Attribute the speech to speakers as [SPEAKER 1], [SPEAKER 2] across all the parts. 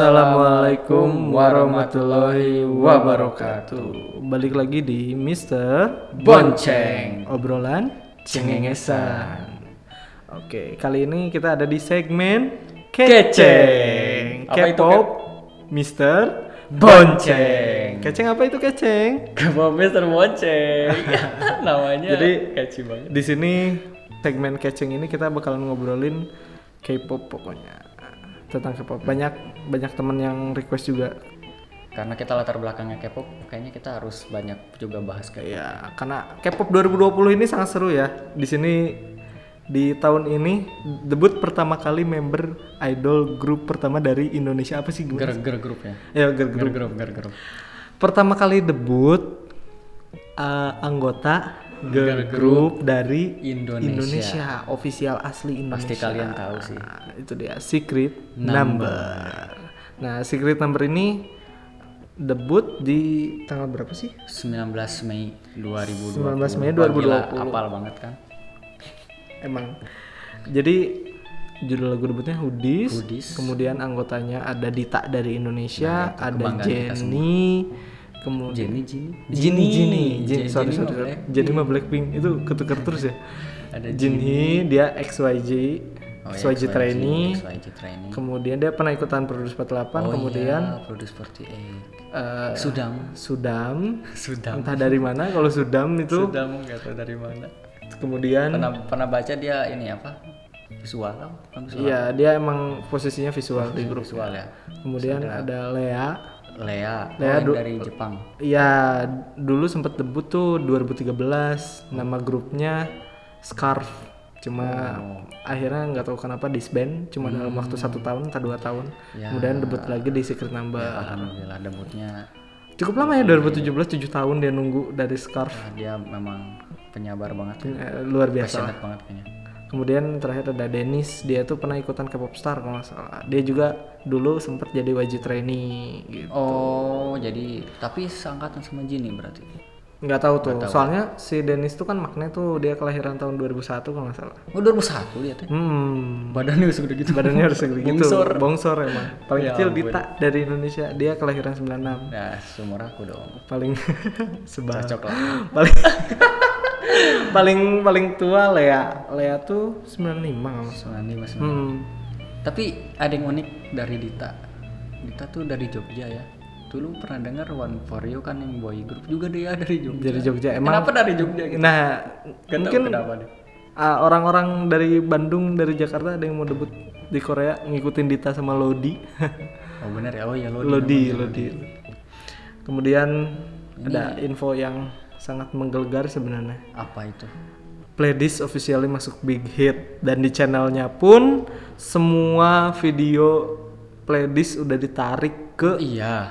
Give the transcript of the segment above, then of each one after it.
[SPEAKER 1] Assalamualaikum warahmatullahi wabarakatuh.
[SPEAKER 2] Balik lagi di Mister
[SPEAKER 1] Bonceng
[SPEAKER 2] Obrolan
[SPEAKER 1] Cengengesan
[SPEAKER 2] Oke, kali ini kita ada di segmen
[SPEAKER 1] Keceng.
[SPEAKER 2] Keceng.
[SPEAKER 1] Apa itu,
[SPEAKER 2] K-pop Mister
[SPEAKER 1] Bonceng
[SPEAKER 2] Keceng apa itu keceng?
[SPEAKER 1] Kebab Mister Bonceng Namanya
[SPEAKER 2] Jadi,
[SPEAKER 1] catchy banget
[SPEAKER 2] Di sini segmen keceng ini kita bakalan ngobrolin K-pop pokoknya tentang K-pop. Banyak banyak teman yang request juga
[SPEAKER 1] Karena kita latar belakangnya K-pop Kayaknya kita harus banyak juga bahas kayak
[SPEAKER 2] Ya, karena K-pop 2020 ini sangat seru ya. Di sini di tahun ini debut pertama kali member idol grup pertama dari Indonesia apa sih gue?
[SPEAKER 1] Ger-ger grup ya
[SPEAKER 2] Ya, girl group.
[SPEAKER 1] Ger-grup, ger-grup
[SPEAKER 2] Pertama kali debut eh, anggota girl,
[SPEAKER 1] Girl
[SPEAKER 2] group dari
[SPEAKER 1] Hmm. Indonesia.
[SPEAKER 2] Indonesia. official asli Indonesia.
[SPEAKER 1] Pasti kalian tahu sih
[SPEAKER 2] Nah, itu dia Secret Number. Nah, Secret Number ini debut di tanggal berapa sih?
[SPEAKER 1] 19 Mei 2020
[SPEAKER 2] 19 Mei
[SPEAKER 1] Wah, gila,
[SPEAKER 2] 2020.
[SPEAKER 1] Apal banget kan
[SPEAKER 2] Emang. Jadi judul lagu debutnya Hoodies.
[SPEAKER 1] Hoodies. Nah,
[SPEAKER 2] Kemudian anggotanya ada Dita dari Indonesia, ada
[SPEAKER 1] kebanggaan kita
[SPEAKER 2] Jenny, kemudian
[SPEAKER 1] Jenny, Jenny
[SPEAKER 2] Jinny Jinny, Jinny,
[SPEAKER 1] Jenny,
[SPEAKER 2] sorry
[SPEAKER 1] Jenny Oh, iya,
[SPEAKER 2] sorry.
[SPEAKER 1] mah
[SPEAKER 2] sorry.
[SPEAKER 1] Black.
[SPEAKER 2] Jenny mah Blackpink itu ketukar terus ya.
[SPEAKER 1] Ada
[SPEAKER 2] Jinhee dia XYJ,
[SPEAKER 1] Oh ya,
[SPEAKER 2] XYJ trainee.
[SPEAKER 1] XYZ trainee
[SPEAKER 2] Kemudian dia pernah ikutan Produce 48, kemudian
[SPEAKER 1] ya, Produce 48
[SPEAKER 2] eh,
[SPEAKER 1] Sudam
[SPEAKER 2] Sudam,
[SPEAKER 1] Sudam
[SPEAKER 2] entah dari mana kalau Sudam itu,
[SPEAKER 1] Sudam nggak tahu dari mana
[SPEAKER 2] kemudian
[SPEAKER 1] pernah pernah baca dia ini apa visual apa? bukan visual
[SPEAKER 2] Iya, dia emang posisinya visual di grup.
[SPEAKER 1] visual ya
[SPEAKER 2] Kemudian ada Lea.
[SPEAKER 1] Lea, oh,
[SPEAKER 2] Lea
[SPEAKER 1] yang
[SPEAKER 2] du-
[SPEAKER 1] dari Jepang
[SPEAKER 2] Ya, dulu sempat debut tuh 2013. Nama grupnya Scarf. Cuma
[SPEAKER 1] Oh.
[SPEAKER 2] akhirnya nggak tahu kenapa disband. Cuma dalam waktu satu tahun atau dua tahun.
[SPEAKER 1] Hmm. Ya.
[SPEAKER 2] Kemudian debut lagi di Secret Number.
[SPEAKER 1] alhamdulillah debutnya
[SPEAKER 2] Cukup lama ya 2017, 7 tahun dia nunggu dari Scarf.
[SPEAKER 1] ah, dia memang penyabar banget
[SPEAKER 2] Eh, Luar biasa.
[SPEAKER 1] passionate banget kayaknya
[SPEAKER 2] Kemudian terakhir ada Dennis, dia tuh pernah ikutan K-pop Star kalau nggak salah. Dia juga dulu sempat jadi wajib trainee gitu.
[SPEAKER 1] oh jadi tapi seangkatan sama Jini berarti
[SPEAKER 2] nggak tahu tuh soalnya si Dennis tuh kan maknanya tuh dia kelahiran tahun 2001 kalau nggak salah
[SPEAKER 1] oh 2001 dia teh
[SPEAKER 2] hmm
[SPEAKER 1] badannya sudah gitu
[SPEAKER 2] badannya harus segitu
[SPEAKER 1] Bongsor.
[SPEAKER 2] bongsor emang paling
[SPEAKER 1] Ya
[SPEAKER 2] kecil Dita dari Indonesia dia kelahiran 96
[SPEAKER 1] nah seumur aku dong
[SPEAKER 2] paling sebab
[SPEAKER 1] cocok lah
[SPEAKER 2] paling paling paling tua Lea Lea tuh 95 kalau nggak salah.
[SPEAKER 1] Sunani mas
[SPEAKER 2] hmm.
[SPEAKER 1] Tapi ada yang unik dari Dita. Dita tuh dari Jogja ya. Dulu pernah dengar One For You kan yang boy group juga dia dari Jogja.
[SPEAKER 2] dari Jogja emang
[SPEAKER 1] Kenapa dari Jogja gitu?
[SPEAKER 2] nah
[SPEAKER 1] Gak tahu
[SPEAKER 2] mungkin
[SPEAKER 1] kenapa deh.
[SPEAKER 2] ah, orang-orang dari Bandung dari Jakarta ada yang mau debut di Korea ngikutin Dita sama Lodi
[SPEAKER 1] Oh bener ya, oh ya lo.
[SPEAKER 2] Lodi, Lodi. Kemudian ada info yang sangat menggelegar sebenarnya.
[SPEAKER 1] Apa itu?
[SPEAKER 2] Playlist officially masuk big hit dan di channelnya pun semua video playlist udah ditarik ke
[SPEAKER 1] Iya,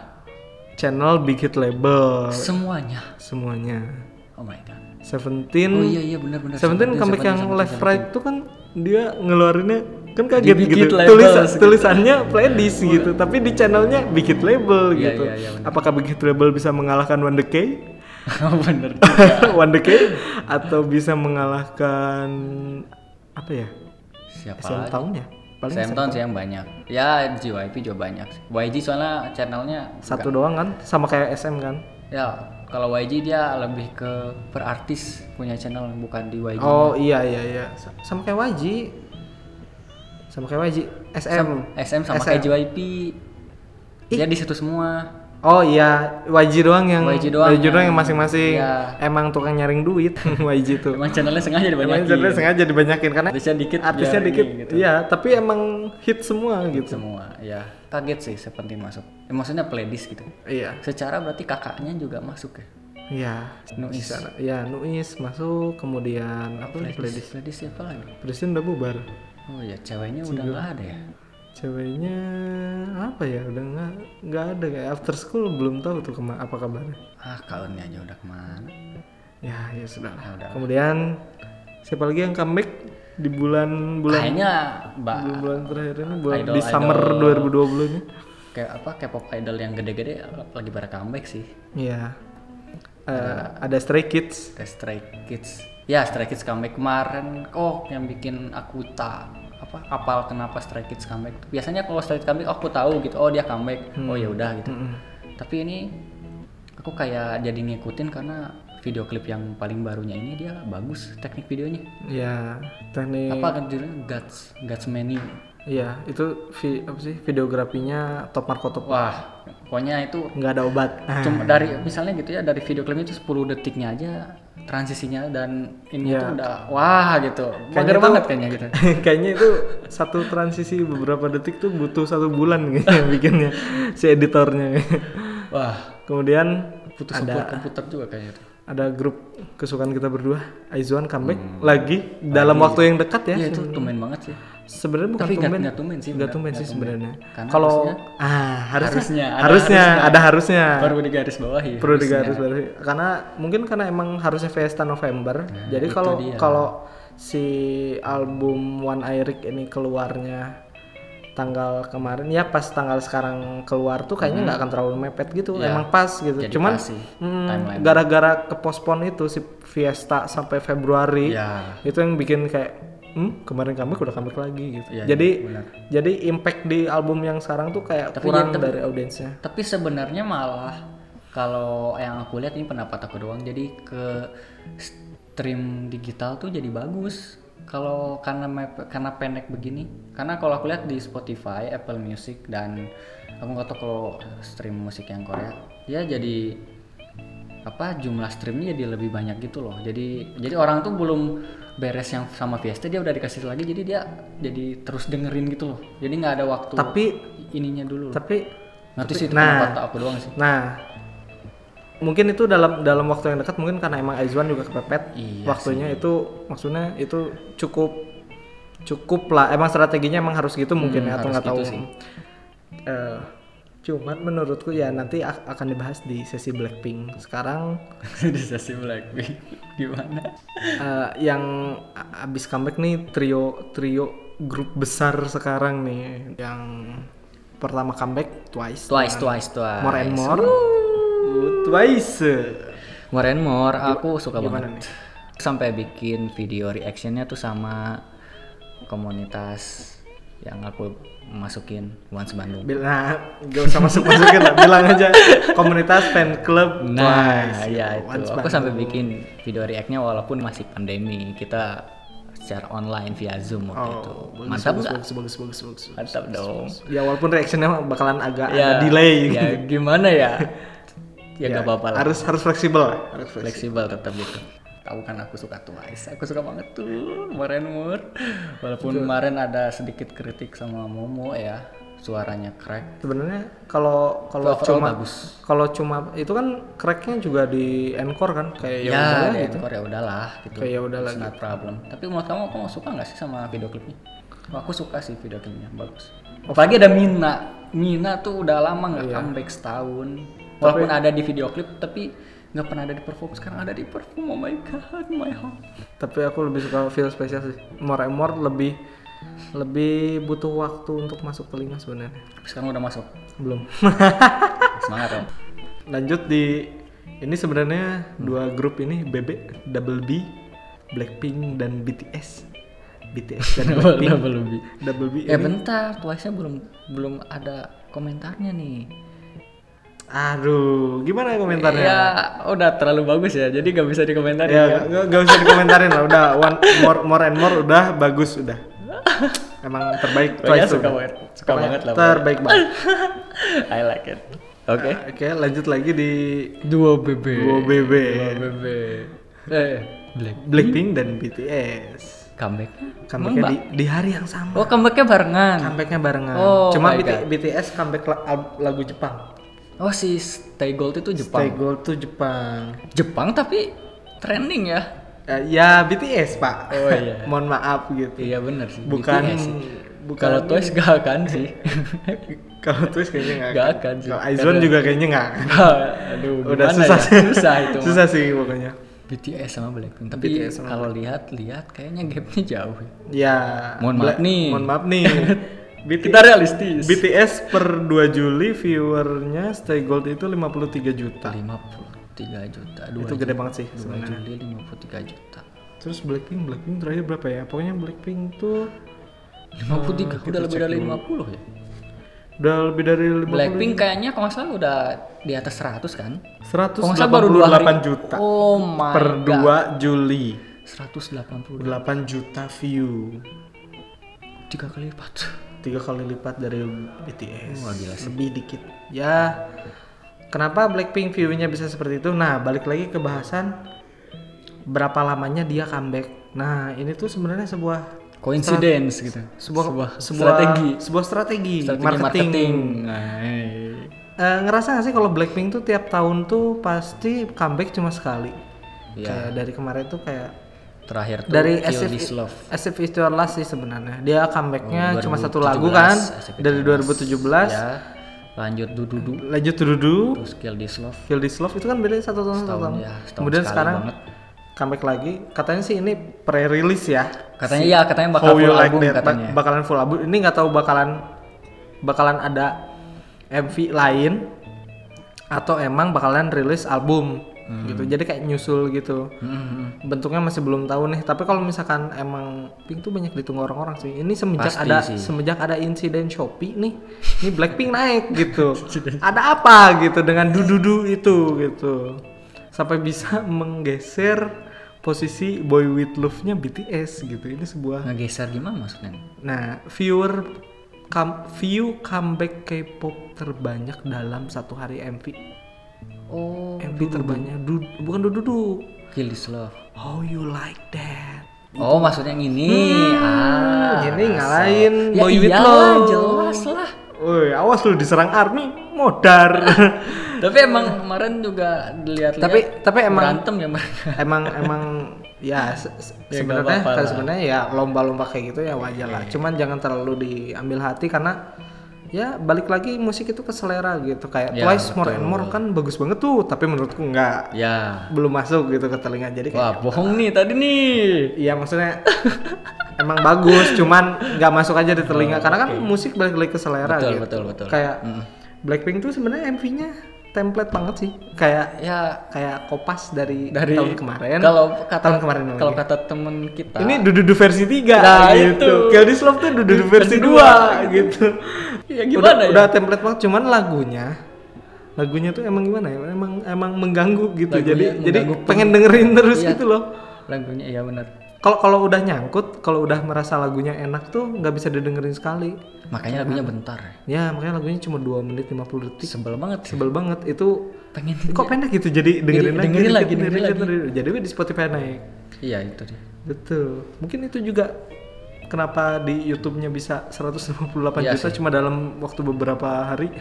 [SPEAKER 2] channel big hit label
[SPEAKER 1] semuanya.
[SPEAKER 2] semuanya.
[SPEAKER 1] Oh my god.
[SPEAKER 2] Seventeen,
[SPEAKER 1] Oh iya iya bener bener.
[SPEAKER 2] Seventeen comeback yang left right tuh kan dia ngeluarinnya kan kaget
[SPEAKER 1] Di Big
[SPEAKER 2] gitu.
[SPEAKER 1] Hit label,
[SPEAKER 2] Tulisan,
[SPEAKER 1] segitu.
[SPEAKER 2] tulisannya playlist gitu, tapi di channelnya big hit label
[SPEAKER 1] Iya,
[SPEAKER 2] gitu.
[SPEAKER 1] iya, iya,
[SPEAKER 2] Apakah big hit label bisa mengalahkan One Decay?
[SPEAKER 1] oh bener.
[SPEAKER 2] One Decay atau bisa mengalahkan apa ya?
[SPEAKER 1] Siapa
[SPEAKER 2] SM
[SPEAKER 1] lagi?
[SPEAKER 2] tahun ya? Paling
[SPEAKER 1] Sam Town sih yang banyak. Ya JYP juga banyak. sih. YG soalnya channelnya
[SPEAKER 2] satu doang kan, sama kayak SM kan?
[SPEAKER 1] ya kalau YG dia lebih ke per artis punya channel bukan di YG.
[SPEAKER 2] Oh iya iya iya, Sa- sama kayak YG, sama kayak YG, SM.
[SPEAKER 1] SM sama kayak JYP. Dia di situ semua.
[SPEAKER 2] Oh iya, YG doang yang
[SPEAKER 1] YG doang
[SPEAKER 2] yang masing-masing.
[SPEAKER 1] Iya.
[SPEAKER 2] Emang tukang nyaring duit YG tuh.
[SPEAKER 1] Emang channelnya sengaja
[SPEAKER 2] Emang
[SPEAKER 1] dibanyakin.
[SPEAKER 2] sebenarnya sengaja dibanyakin karena
[SPEAKER 1] Artisnya dikit.
[SPEAKER 2] artisnya
[SPEAKER 1] biar
[SPEAKER 2] dikit.
[SPEAKER 1] ini gitu.
[SPEAKER 2] Iya, tapi emang hit semua gitu.
[SPEAKER 1] Semua, ya. Kaget sih Seventeen masuk. Eh, maksudnya playlist gitu.
[SPEAKER 2] Iya.
[SPEAKER 1] Secara berarti kakaknya juga masuk ya.
[SPEAKER 2] Iya.
[SPEAKER 1] Nuis.
[SPEAKER 2] Secara- Ya, Nuis masuk kemudian apa lagi playlist?
[SPEAKER 1] Playlist, playlist siapa lagi?
[SPEAKER 2] Presiden udah bubar.
[SPEAKER 1] Oh ya, ceweknya udah nggak ada ya.
[SPEAKER 2] Ceweknya apa ya? Udah nggak nggak ada kayak after school belum tahu tuh kema- apa kabarnya.
[SPEAKER 1] Ah, kalonnya aja udah kemana?
[SPEAKER 2] Ya, ya sudah. lah.
[SPEAKER 1] Ya udah.
[SPEAKER 2] Kemudian siapa lagi yang comeback di bulan bulan
[SPEAKER 1] Kayaknya mbak
[SPEAKER 2] bulan terakhir ini bulan
[SPEAKER 1] Idol-
[SPEAKER 2] di summer 2020 ini
[SPEAKER 1] kayak apa K-pop idol yang gede-gede lagi pada comeback sih.
[SPEAKER 2] iya Eh, ada Stray Kids
[SPEAKER 1] The Stray Kids. Ya, Stray Kids comeback kemarin. Oh, yang bikin Akuta. apa apal kenapa Stray Kids comeback. Biasanya kalau Stray Kids comeback aku tahu gitu. Oh, dia comeback.
[SPEAKER 2] Hmm.
[SPEAKER 1] Oh, ya udah gitu.
[SPEAKER 2] Mm-mm.
[SPEAKER 1] Tapi ini aku kayak jadi ngikutin karena video klip yang paling barunya ini dia bagus teknik videonya.
[SPEAKER 2] Ya, teknik
[SPEAKER 1] Apa judulnya? Guts, Guts Menu.
[SPEAKER 2] Iya, itu vi- apa sih videografinya top Marco top.
[SPEAKER 1] Wah, pokoknya itu
[SPEAKER 2] Nggak ada obat. Ah,
[SPEAKER 1] cuma dari misalnya gitu ya dari video klipnya itu 10 detiknya aja transisinya dan ini
[SPEAKER 2] Iya.
[SPEAKER 1] tuh udah wah gitu mager
[SPEAKER 2] Kayaknya tuh-
[SPEAKER 1] banget kayaknya gitu
[SPEAKER 2] Kayaknya itu satu transisi beberapa detik tuh butuh satu bulan kayaknya bikinnya si editornya.
[SPEAKER 1] wah
[SPEAKER 2] Kemudian
[SPEAKER 1] putus
[SPEAKER 2] ada
[SPEAKER 1] support komputer juga kayaknya tuh
[SPEAKER 2] ada grup kesukaan kita berdua, Aizuan comeback lagi dalam waktu yang dekat ya.
[SPEAKER 1] Hmm. iya itu tumen banget sih
[SPEAKER 2] Sebenarnya bukan
[SPEAKER 1] tapi nggak
[SPEAKER 2] tumben,
[SPEAKER 1] nggak tumen sih
[SPEAKER 2] nggak
[SPEAKER 1] bener.
[SPEAKER 2] tumben sih sebenarnya.
[SPEAKER 1] Karena
[SPEAKER 2] Kalau ah
[SPEAKER 1] Harusnya,
[SPEAKER 2] harusnya
[SPEAKER 1] ada
[SPEAKER 2] harusnya ada harusnya.
[SPEAKER 1] baru di garis bawah ya
[SPEAKER 2] perlu digaris bawahi. karena mungkin karena emang harusnya Fiesta November jadi kalau
[SPEAKER 1] Nah, dia.
[SPEAKER 2] kalau si album One Eric ini keluarnya tanggal kemarin ya pas tanggal sekarang keluar tuh kayaknya nggak akan terlalu mepet gitu
[SPEAKER 1] Ya.
[SPEAKER 2] emang pas gitu
[SPEAKER 1] Hmm. Jadi
[SPEAKER 2] cuman
[SPEAKER 1] pas sih,
[SPEAKER 2] hmm,
[SPEAKER 1] timeline.
[SPEAKER 2] gara-gara kepospon itu si Fiesta sampai Februari
[SPEAKER 1] ya
[SPEAKER 2] itu yang bikin kayak hmm, kemarin comeback udah comeback lagi gitu
[SPEAKER 1] Iya,
[SPEAKER 2] jadi
[SPEAKER 1] iya, benar.
[SPEAKER 2] jadi impact di album yang sekarang tuh kayak
[SPEAKER 1] Tapi
[SPEAKER 2] kurang
[SPEAKER 1] ya, tapi-
[SPEAKER 2] dari audiensnya
[SPEAKER 1] tapi sebenarnya malah kalau yang aku lihat ini pendapat aku doang jadi ke stream digital tuh jadi bagus kalau karena mep- karena pendek begini karena kalau aku lihat di Spotify Apple Music dan aku nggak tahu kalau stream musik yang Korea ya jadi apa jumlah streamnya jadi lebih banyak gitu loh jadi jadi orang tuh belum beres yang sama Fiesta dia udah dikasih lagi jadi dia jadi terus dengerin gitu loh jadi nggak ada waktu
[SPEAKER 2] tapi
[SPEAKER 1] ininya dulu loh.
[SPEAKER 2] tapi
[SPEAKER 1] Nanti sih itu
[SPEAKER 2] Nah.
[SPEAKER 1] pendapat aku doang sih.
[SPEAKER 2] Nah, mungkin itu dalam dalam waktu yang dekat mungkin karena emang Aizwan juga kepepet.
[SPEAKER 1] Iya
[SPEAKER 2] waktunya itu maksudnya itu cukup cukup lah. Emang strateginya emang harus gitu mungkin ya, atau
[SPEAKER 1] harus
[SPEAKER 2] nggak tahu.
[SPEAKER 1] gitu sih.
[SPEAKER 2] Eh, cuman menurutku ya nanti ak- akan dibahas di sesi Blackpink. Sekarang
[SPEAKER 1] di sesi Blackpink gimana?
[SPEAKER 2] eh, yang a- abis comeback nih trio trio grup besar sekarang nih yang pertama comeback Twice,
[SPEAKER 1] Twice, twice, twice.
[SPEAKER 2] More and More, Twice.
[SPEAKER 1] More and more, aku suka
[SPEAKER 2] gimana
[SPEAKER 1] banget. Sampai bikin video reactionnya tuh sama komunitas yang aku masukin Once Bandung.
[SPEAKER 2] Bila gak nah, usah masuk masukin lah, bilang aja komunitas fan club
[SPEAKER 1] Nah,
[SPEAKER 2] Twice, gitu,
[SPEAKER 1] ya itu.
[SPEAKER 2] Once
[SPEAKER 1] Aku
[SPEAKER 2] Bandung.
[SPEAKER 1] sampai bikin video reactnya walaupun masih pandemi. Kita secara online via Zoom waktu itu.
[SPEAKER 2] Oh, bagus,
[SPEAKER 1] gitu. Mantap
[SPEAKER 2] bagus,
[SPEAKER 1] nggak?
[SPEAKER 2] bagus, bagus, bagus, bagus, bagus.
[SPEAKER 1] Mantap dong.
[SPEAKER 2] Ya walaupun reactionnya mah bakalan agak ada delay
[SPEAKER 1] ya gimana ya? ya
[SPEAKER 2] Ya,
[SPEAKER 1] gak apa-apa lah.
[SPEAKER 2] Harus harus fleksibel lah, harus fleksibel.
[SPEAKER 1] fleksibel tetap gitu tahu kan aku suka Twice aku suka banget tuh kemarin mur walaupun kemarin ada sedikit kritik sama Momo ya suaranya crack
[SPEAKER 2] Sebenarnya kalau kalau
[SPEAKER 1] Overall
[SPEAKER 2] cuma
[SPEAKER 1] bagus.
[SPEAKER 2] kalau cuma itu kan cracknya juga di encore kan kayak ya, udah
[SPEAKER 1] ya
[SPEAKER 2] lah
[SPEAKER 1] di
[SPEAKER 2] gitu.
[SPEAKER 1] encore ya udahlah gitu
[SPEAKER 2] Kayak ya udah lah
[SPEAKER 1] It's not problem tapi menurut kamu kamu suka nggak sih sama video klipnya Wah, aku suka sih video klipnya bagus apalagi ada Mina Mina tuh udah lama
[SPEAKER 2] Iya.
[SPEAKER 1] nggak comeback setahun walaupun ada di video klip tapi nggak pernah ada di perform sekarang ada di perform oh my god my heart
[SPEAKER 2] Tapi aku lebih suka feel spesial sih. More and more lebih lebih butuh waktu untuk masuk telinga sebenarnya.
[SPEAKER 1] Tapi sekarang udah masuk
[SPEAKER 2] Belum.
[SPEAKER 1] semangat dong
[SPEAKER 2] lanjut di ini sebenarnya dua grup ini BB Double B Blackpink dan BTS BTS dan Blackpink
[SPEAKER 1] double lebih
[SPEAKER 2] Double B
[SPEAKER 1] Ya
[SPEAKER 2] ini
[SPEAKER 1] bentar, Twice-nya belum belum ada komentarnya nih.
[SPEAKER 2] aduh gimana komentarnya
[SPEAKER 1] Ya udah terlalu bagus ya, jadi gak bisa dikomentarin.
[SPEAKER 2] ya nggak- nggak usah dikomentarin lah udah one more more and more udah bagus udah emang terbaik
[SPEAKER 1] Pokoknya
[SPEAKER 2] tuh.
[SPEAKER 1] suka banget, suka
[SPEAKER 2] Pokoknya
[SPEAKER 1] banget lah.
[SPEAKER 2] terbaik banget
[SPEAKER 1] I like it. Oke.
[SPEAKER 2] oke lanjut lagi di
[SPEAKER 1] Dua BB.
[SPEAKER 2] duo BB
[SPEAKER 1] Dua BB. Eh, Black.
[SPEAKER 2] Blackpink dan BTS
[SPEAKER 1] Comeback.
[SPEAKER 2] comebacknya di, di hari yang sama
[SPEAKER 1] Oh, comebacknya barengan.
[SPEAKER 2] comebacknya barengan.
[SPEAKER 1] Oh
[SPEAKER 2] Cuma
[SPEAKER 1] my
[SPEAKER 2] BT
[SPEAKER 1] God.
[SPEAKER 2] BTS comeback la- al- lagu Jepang.
[SPEAKER 1] Oh, si Stay Gold itu Jepang.
[SPEAKER 2] Stay Gold tuh Jepang.
[SPEAKER 1] Jepang tapi trending ya.
[SPEAKER 2] Eh, ya BTS pak.
[SPEAKER 1] Oh, iya.
[SPEAKER 2] Mohon maaf gitu.
[SPEAKER 1] Iya bener sih.
[SPEAKER 2] Bukan
[SPEAKER 1] BTS sih.
[SPEAKER 2] bukan
[SPEAKER 1] Kalau Twice gak akan sih.
[SPEAKER 2] kalau Twist kayaknya nggak.
[SPEAKER 1] ya. Nggak
[SPEAKER 2] akan.
[SPEAKER 1] akan sih.
[SPEAKER 2] Kalau Aizwan juga kayaknya nggak. akan.
[SPEAKER 1] Aduh,
[SPEAKER 2] Udah
[SPEAKER 1] gimana
[SPEAKER 2] susah
[SPEAKER 1] ya? susah itu. mah.
[SPEAKER 2] susah sih pokoknya.
[SPEAKER 1] BTS sama Blackpink tapi
[SPEAKER 2] BTS sama
[SPEAKER 1] kalau lihat-lihat kayaknya gapnya jauh ya.
[SPEAKER 2] Ya.
[SPEAKER 1] Mohon maaf
[SPEAKER 2] Bla-
[SPEAKER 1] nih.
[SPEAKER 2] Mohon maaf nih. BTS,
[SPEAKER 1] kita realistis
[SPEAKER 2] BTS per 2 Juli viewernya Stay Gold itu 53 juta.
[SPEAKER 1] 53 juta dua
[SPEAKER 2] Itu gede banget sih sebenarnya.
[SPEAKER 1] Juli 53 juta
[SPEAKER 2] Terus Blackpink, Blackpink terakhir berapa ya? Pokoknya Blackpink tuh
[SPEAKER 1] 53 udah lebih dari 50 ya.
[SPEAKER 2] Udah lebih dari 50
[SPEAKER 1] Blackpink kayaknya kalau nggak salah udah di atas 100 kan? Kalau nggak salah baru dua hari.
[SPEAKER 2] 188 juta
[SPEAKER 1] Oh my
[SPEAKER 2] per
[SPEAKER 1] god.
[SPEAKER 2] 2 Juli.
[SPEAKER 1] 180
[SPEAKER 2] 8 juta view.
[SPEAKER 1] tiga kali lipat.
[SPEAKER 2] Tiga kali lipat dari BTS.
[SPEAKER 1] Wah, gila sih.
[SPEAKER 2] Lebih dikit. Ya. Kenapa Blackpink view-nya bisa seperti itu? Nah, balik lagi ke bahasan berapa lamanya dia comeback. Nah, ini tuh sebenarnya sebuah
[SPEAKER 1] Coincidence gitu.
[SPEAKER 2] sebuah
[SPEAKER 1] sebuah,
[SPEAKER 2] sebuah
[SPEAKER 1] strategi.
[SPEAKER 2] sebuah strategi,
[SPEAKER 1] Strategi
[SPEAKER 2] marketing.
[SPEAKER 1] marketing. Nah, iya.
[SPEAKER 2] Eh, ngerasa gak sih kalau Blackpink tuh tiap tahun tuh pasti comeback cuma sekali.
[SPEAKER 1] Iya.
[SPEAKER 2] Kayak dari kemarin tuh kayak
[SPEAKER 1] Terakhir tuh
[SPEAKER 2] dari
[SPEAKER 1] Kill
[SPEAKER 2] SF
[SPEAKER 1] This Love.
[SPEAKER 2] SF Is Your Last sih sebenarnya. Dia comebacknya
[SPEAKER 1] Oh,
[SPEAKER 2] Ya, cuma satu
[SPEAKER 1] 2017,
[SPEAKER 2] lagu kan
[SPEAKER 1] SF Is
[SPEAKER 2] dari 2017.
[SPEAKER 1] Ya, lanjut dududu
[SPEAKER 2] Lanjut to Dudu,
[SPEAKER 1] terus Kill This Love.
[SPEAKER 2] Kill This Love itu kan beda satu tahun satu
[SPEAKER 1] Setahun,
[SPEAKER 2] tahun.
[SPEAKER 1] ya, setahun
[SPEAKER 2] Kemudian
[SPEAKER 1] sekali
[SPEAKER 2] sekarang
[SPEAKER 1] banget.
[SPEAKER 2] comeback lagi. Katanya sih ini pre-release ya.
[SPEAKER 1] Katanya ya, katanya bakal
[SPEAKER 2] How
[SPEAKER 1] full
[SPEAKER 2] you like
[SPEAKER 1] album
[SPEAKER 2] that? Ba-
[SPEAKER 1] katanya.
[SPEAKER 2] bakalan full album. Ini nggak tahu bakalan bakalan ada MV lain atau emang bakalan rilis album gitu. Jadi kayak nyusul gitu.
[SPEAKER 1] Hmm, hmm, hmm.
[SPEAKER 2] Bentuknya masih belum tahu nih. Tapi kalau misalkan emang Pink tuh banyak ditunggu orang-orang sih. Ini semenjak
[SPEAKER 1] Pasti
[SPEAKER 2] ada
[SPEAKER 1] sih.
[SPEAKER 2] semenjak ada insiden Shopee nih, ini Blackpink naik gitu. ada apa gitu dengan dududu itu gitu. Sampai bisa menggeser posisi Boy With Love-nya BTS gitu. Ini sebuah
[SPEAKER 1] Ngegeser gimana maksudnya?
[SPEAKER 2] Nah, viewer come- view comeback K-pop terbanyak dalam satu hari MV.
[SPEAKER 1] Oh,
[SPEAKER 2] MV terbanyak du, bukan dududu.
[SPEAKER 1] Kill This Love.
[SPEAKER 2] How you like that?
[SPEAKER 1] Oh, maksudnya yang ini. ah,
[SPEAKER 2] ini
[SPEAKER 1] rasa.
[SPEAKER 2] ngalahin
[SPEAKER 1] ya,
[SPEAKER 2] Hmm, Boy With
[SPEAKER 1] iyalah,
[SPEAKER 2] Love.
[SPEAKER 1] jelas lah.
[SPEAKER 2] Woi, awas lu diserang army modar.
[SPEAKER 1] Tapi emang kemarin juga dilihat-lihat.
[SPEAKER 2] tapi tapi emang
[SPEAKER 1] berantem ya mereka.
[SPEAKER 2] emang emang ya se- se-
[SPEAKER 1] Ya, nggak
[SPEAKER 2] sebenarnya
[SPEAKER 1] apa-apa
[SPEAKER 2] kalau
[SPEAKER 1] lah.
[SPEAKER 2] sebenarnya ya lomba-lomba kayak gitu ya wajar lah cuman jangan terlalu diambil hati karena ya balik lagi musik itu ke selera gitu kayak
[SPEAKER 1] Ya,
[SPEAKER 2] Twice More and
[SPEAKER 1] betul.
[SPEAKER 2] More kan bagus banget tuh tapi menurutku nggak
[SPEAKER 1] Ya.
[SPEAKER 2] belum masuk gitu ke telinga jadi kayak
[SPEAKER 1] Wah, bohong nih tadi nih.
[SPEAKER 2] Iya maksudnya emang bagus, cuman nggak masuk aja di telinga karena kan musik balik lagi ke selera
[SPEAKER 1] Oh, Betul,
[SPEAKER 2] gitu.
[SPEAKER 1] betul, betul.
[SPEAKER 2] Kayak Blackpink tuh sebenarnya MV-nya template banget sih, kayak
[SPEAKER 1] Ya
[SPEAKER 2] kayak kopas dari,
[SPEAKER 1] dari
[SPEAKER 2] tahun kemarin.
[SPEAKER 1] Kalau kata
[SPEAKER 2] tahun kemarin lagi.
[SPEAKER 1] Kalau kata temen kita.
[SPEAKER 2] ini dududu versi 3
[SPEAKER 1] Nah, itu.
[SPEAKER 2] gitu. Kill This Love tuh dududu versi 2 gitu.
[SPEAKER 1] ya
[SPEAKER 2] udah,
[SPEAKER 1] gimana ya?
[SPEAKER 2] udah template banget, cuman lagunya lagunya tuh emang gimana ya? Emang emang mengganggu gitu.
[SPEAKER 1] Lagunya
[SPEAKER 2] jadi jadi
[SPEAKER 1] mengganggu.
[SPEAKER 2] pengen dengerin terus
[SPEAKER 1] Iya.
[SPEAKER 2] gitu loh.
[SPEAKER 1] Lagunya ya benar.
[SPEAKER 2] Kalau kalau udah nyangkut, kalau udah merasa lagunya enak tuh nggak bisa didengerin sekali.
[SPEAKER 1] Makanya lagunya bentar. ya.
[SPEAKER 2] Ya makanya lagunya cuma 2 menit 50 detik.
[SPEAKER 1] Sebel banget.
[SPEAKER 2] Sebel banget itu
[SPEAKER 1] Pengen
[SPEAKER 2] kok pendek gitu jadi dengerin
[SPEAKER 1] Iya. Jadi dengerin lagi, dengerin
[SPEAKER 2] lagi. Jadi di Spotify naik.
[SPEAKER 1] Iya, itu dia.
[SPEAKER 2] Betul. Mungkin itu juga kenapa di YouTube-nya bisa 158
[SPEAKER 1] Iya
[SPEAKER 2] juta cuma dalam waktu beberapa hari.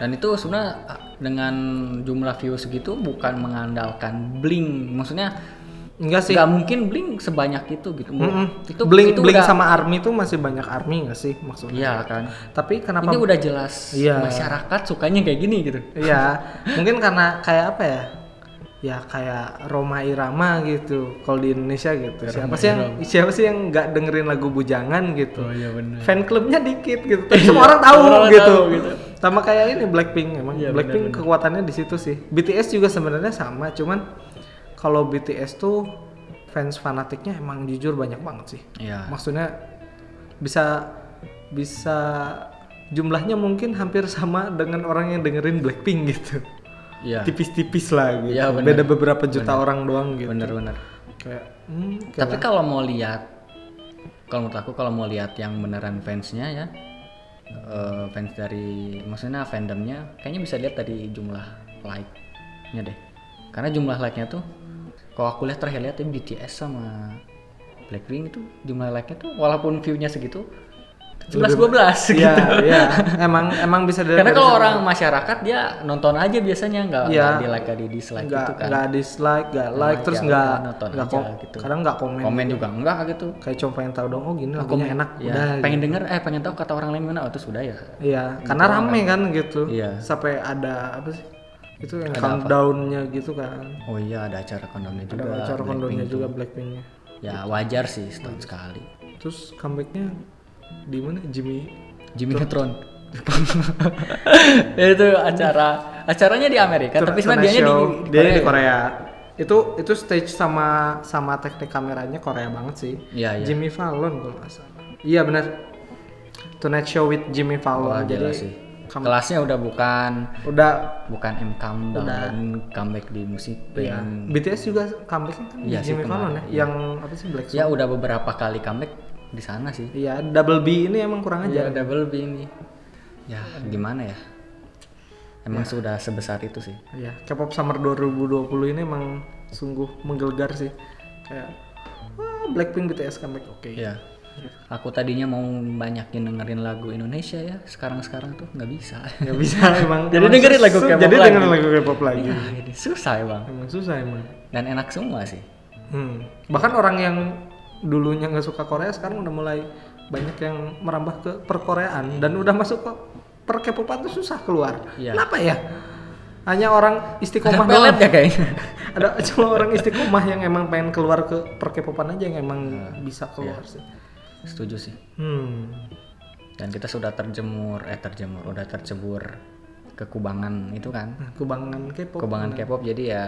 [SPEAKER 1] Dan itu sebenarnya ah, dengan jumlah view segitu bukan mengandalkan Blink. Maksudnya
[SPEAKER 2] Enggak sih.
[SPEAKER 1] nggak mungkin Blink sebanyak itu gitu.
[SPEAKER 2] Mm-mm.
[SPEAKER 1] Itu
[SPEAKER 2] Blink
[SPEAKER 1] itu
[SPEAKER 2] Blink
[SPEAKER 1] udah-
[SPEAKER 2] sama Army tuh masih banyak Army nggak sih maksudnya?
[SPEAKER 1] Iya kan.
[SPEAKER 2] Tapi kenapa
[SPEAKER 1] Ini udah jelas
[SPEAKER 2] Iya.
[SPEAKER 1] masyarakat sukanya kayak gini gitu.
[SPEAKER 2] Iya, mungkin karena kayak apa ya? Ya kayak Roma Irama gitu, kalau di Indonesia gitu. siapa sih yang siapa sih yang nggak dengerin lagu bujangan gitu?
[SPEAKER 1] iya benar.
[SPEAKER 2] Fan clubnya dikit gitu, tapi semua orang tahu
[SPEAKER 1] Iya. semua orang
[SPEAKER 2] gitu.
[SPEAKER 1] tahu gitu.
[SPEAKER 2] Sama kayak ini Blackpink emang.
[SPEAKER 1] Iya,
[SPEAKER 2] Blackpink kekuatannya di situ sih. BTS juga sebenarnya sama, cuman kalau BTS tuh fans fanatiknya emang jujur banyak banget sih
[SPEAKER 1] Iya.
[SPEAKER 2] maksudnya bisa bisa jumlahnya mungkin hampir sama dengan orang yang dengerin Blackpink gitu
[SPEAKER 1] Iya.
[SPEAKER 2] tipis-tipis lah gitu
[SPEAKER 1] Iya, bener.
[SPEAKER 2] beda beberapa juta orang doang gitu
[SPEAKER 1] Bener-bener.
[SPEAKER 2] kayak hmm, kayak
[SPEAKER 1] Tapi kalau mau lihat kalau menurut aku kalau mau lihat yang beneran fansnya ya eh, fans dari maksudnya fandomnya kayaknya bisa lihat dari jumlah like-nya deh. Karena jumlah like-nya tuh kalau aku lihat terakhir lihat ya BTS sama Blackpink itu jumlah like-nya tuh walaupun view-nya segitu
[SPEAKER 2] Iya,
[SPEAKER 1] 17 12 gitu.
[SPEAKER 2] iya. emang emang bisa dari
[SPEAKER 1] Karena kalau orang masyarakat dia nonton aja biasanya nggak
[SPEAKER 2] Iya.
[SPEAKER 1] nggak di like nggak di dislike
[SPEAKER 2] nggak
[SPEAKER 1] gitu kan.
[SPEAKER 2] nggak dislike nggak like terus
[SPEAKER 1] ya,
[SPEAKER 2] nggak
[SPEAKER 1] nonton
[SPEAKER 2] nggak
[SPEAKER 1] aja
[SPEAKER 2] kom-
[SPEAKER 1] gitu.
[SPEAKER 2] kadang nggak komen
[SPEAKER 1] Komen juga enggak gitu.
[SPEAKER 2] kayak cuma pengen tahu dong oh gini lagunya enak
[SPEAKER 1] Ya,
[SPEAKER 2] udah gitu.
[SPEAKER 1] pengen denger eh pengen tahu kata orang lain gimana oh terus udah ya.
[SPEAKER 2] Iya, karena rame kan gitu.
[SPEAKER 1] Iya.
[SPEAKER 2] Sampai ada apa sih? Itu yang countdown-nya gitu kan.
[SPEAKER 1] Oh iya ada acara kondomnya juga.
[SPEAKER 2] Ada acara countdown-nya juga Blackpink-nya.
[SPEAKER 1] Ya wajar sih setahun sekali.
[SPEAKER 2] Terus comeback-nya di mana? Jimmy
[SPEAKER 1] Jimmy Neutron. itu acara acaranya di Amerika tapi sebenarnya dianya di, di
[SPEAKER 2] dia
[SPEAKER 1] Korea. ya?
[SPEAKER 2] di Korea. Itu itu stage sama sama teknik kameranya Korea banget sih.
[SPEAKER 1] Iya, iya.
[SPEAKER 2] Jimmy Fallon kalau nggak salah. Iya benar. Tonight Show with Jimmy Fallon.
[SPEAKER 1] Wah,
[SPEAKER 2] Jadi
[SPEAKER 1] gila sih.
[SPEAKER 2] kamu-
[SPEAKER 1] Kelasnya udah bukan
[SPEAKER 2] udah
[SPEAKER 1] bukan M Countdown
[SPEAKER 2] Udah.
[SPEAKER 1] dan comeback di musik
[SPEAKER 2] ya.
[SPEAKER 1] yang
[SPEAKER 2] BTS juga comeback kan
[SPEAKER 1] Iya sih,
[SPEAKER 2] Jimmy Fallon ya.
[SPEAKER 1] kemarin,
[SPEAKER 2] Yang apa sih Black Swan?
[SPEAKER 1] ya udah beberapa kali comeback di sana sih.
[SPEAKER 2] Iya, double B ini emang kurang aja.
[SPEAKER 1] Iya, double B ini. Ya, gimana ya? Emang sudah sebesar itu sih.
[SPEAKER 2] Iya, K-pop Summer 2020 ini emang sungguh menggelegar sih. Kayak wah, Blackpink BTS comeback oke.
[SPEAKER 1] Iya. Aku tadinya mau banyakin dengerin lagu Indonesia ya, sekarang-sekarang tuh nggak bisa.
[SPEAKER 2] Nggak bisa emang.
[SPEAKER 1] Jadi
[SPEAKER 2] emang
[SPEAKER 1] dengerin lagu
[SPEAKER 2] sus-
[SPEAKER 1] K-pop
[SPEAKER 2] Jadi
[SPEAKER 1] lagi.
[SPEAKER 2] dengerin lagu K-pop lagi.
[SPEAKER 1] Ah, ini susah emang.
[SPEAKER 2] Emang susah emang.
[SPEAKER 1] Dan enak semua sih.
[SPEAKER 2] Hmm. Bahkan orang yang dulunya nggak suka Korea sekarang udah mulai banyak yang merambah ke perkoreaan dan udah masuk ke per K-popan tuh susah keluar.
[SPEAKER 1] Iya.
[SPEAKER 2] Kenapa ya? Hanya orang
[SPEAKER 1] Ada
[SPEAKER 2] istiqomah
[SPEAKER 1] pelet
[SPEAKER 2] doang.
[SPEAKER 1] ya kayaknya.
[SPEAKER 2] ada cuma orang istiqomah yang emang pengen keluar ke per K-popan aja yang emang
[SPEAKER 1] Iya.
[SPEAKER 2] bisa keluar sih.
[SPEAKER 1] Setuju sih.
[SPEAKER 2] Hmm.
[SPEAKER 1] Dan kita sudah terjemur, eh terjemur, udah tercebur kekubangan itu kan.
[SPEAKER 2] Nah, Kubangan K-pop.
[SPEAKER 1] Kubangan K-pop jadi ya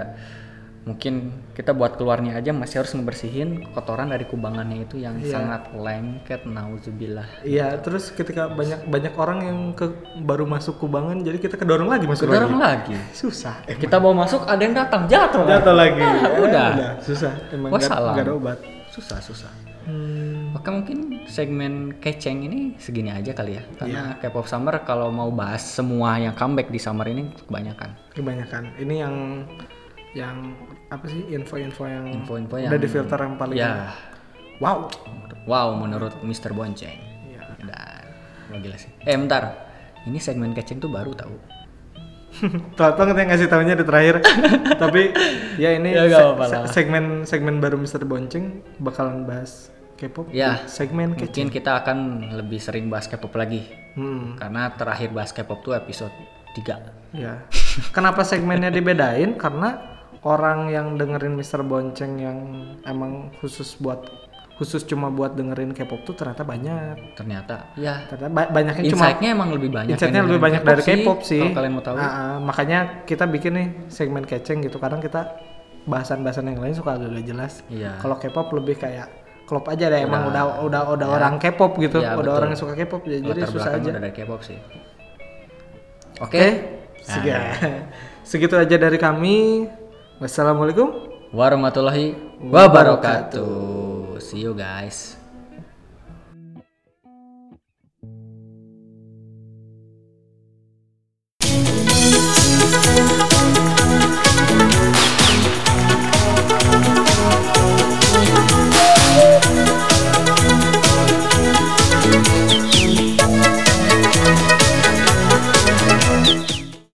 [SPEAKER 1] mungkin kita buat keluarnya aja masih harus ngebersihin kotoran dari kubangannya itu yang sangat lengket nauzubillah.
[SPEAKER 2] Iya, terus ketika banyak banyak orang yang ke, baru masuk kubangan, jadi kita kedorong lagi masuk lagi.
[SPEAKER 1] Dorong lagi.
[SPEAKER 2] Susah. Eh,
[SPEAKER 1] Kita mau masuk ada yang datang jatuh. Ah,
[SPEAKER 2] Jatuh lagi. Eh,
[SPEAKER 1] udah.
[SPEAKER 2] susah. Emang
[SPEAKER 1] Wah,
[SPEAKER 2] nggak
[SPEAKER 1] salah.
[SPEAKER 2] nggak ada obat.
[SPEAKER 1] Susah susah.
[SPEAKER 2] Hmm.
[SPEAKER 1] Maka mungkin segmen keceng ini segini aja kali ya. Karena
[SPEAKER 2] Iya.
[SPEAKER 1] K-pop summer kalau mau bahas semua yang comeback di summer ini kebanyakan.
[SPEAKER 2] Kebanyakan. Ini yang yang apa sih info-info yang
[SPEAKER 1] Info-info
[SPEAKER 2] udah
[SPEAKER 1] yang
[SPEAKER 2] difilter yang paling
[SPEAKER 1] ya
[SPEAKER 2] wow.
[SPEAKER 1] wow menurut Mr. Bonceng.
[SPEAKER 2] Iya.
[SPEAKER 1] Dan wah gila sih. Eh bentar. Ini segmen keceng tuh baru tahu.
[SPEAKER 2] Telat banget yang ngasih tahunya di terakhir. Tapi ya ini
[SPEAKER 1] Ya, nggak
[SPEAKER 2] se-
[SPEAKER 1] apa-apa
[SPEAKER 2] se-
[SPEAKER 1] lah.
[SPEAKER 2] segmen segmen baru Mister Bonceng bakalan bahas K-pop.
[SPEAKER 1] Ya.
[SPEAKER 2] di Segmen kecil.
[SPEAKER 1] Mungkin kita akan lebih sering bahas K-pop lagi.
[SPEAKER 2] Hmm.
[SPEAKER 1] Karena terakhir bahas K-pop tuh episode 3
[SPEAKER 2] Ya. Kenapa segmennya dibedain? Karena orang yang dengerin Mister Bonceng yang emang khusus buat khusus cuma buat dengerin K-pop tuh ternyata banyak.
[SPEAKER 1] Ternyata ya
[SPEAKER 2] Ternyata ba- banyaknya cuma
[SPEAKER 1] insight-nya emang lebih banyak.
[SPEAKER 2] insightnya
[SPEAKER 1] yang
[SPEAKER 2] lebih banyak dari K-pop sih.
[SPEAKER 1] Kalau kalian mau tahu.
[SPEAKER 2] Ah, ah, makanya kita bikin nih segmen keceng gitu. Kadang kita bahasan-bahasan yang lain suka agak gak jelas.
[SPEAKER 1] Iya.
[SPEAKER 2] Kalau K-pop lebih kayak klop aja deh emang udah udah udah orang K-pop gitu, udah
[SPEAKER 1] Iya, Ya. betul.
[SPEAKER 2] orang yang suka K-pop ya, jadi
[SPEAKER 1] Latar
[SPEAKER 2] susah
[SPEAKER 1] belakang
[SPEAKER 2] aja. Eh,
[SPEAKER 1] udah dari K-pop sih. Oke. Nah,
[SPEAKER 2] Oke, segi- segitu aja dari kami. Wassalamualaikum.
[SPEAKER 1] Warahmatullahi wabarakatuh. See you guys.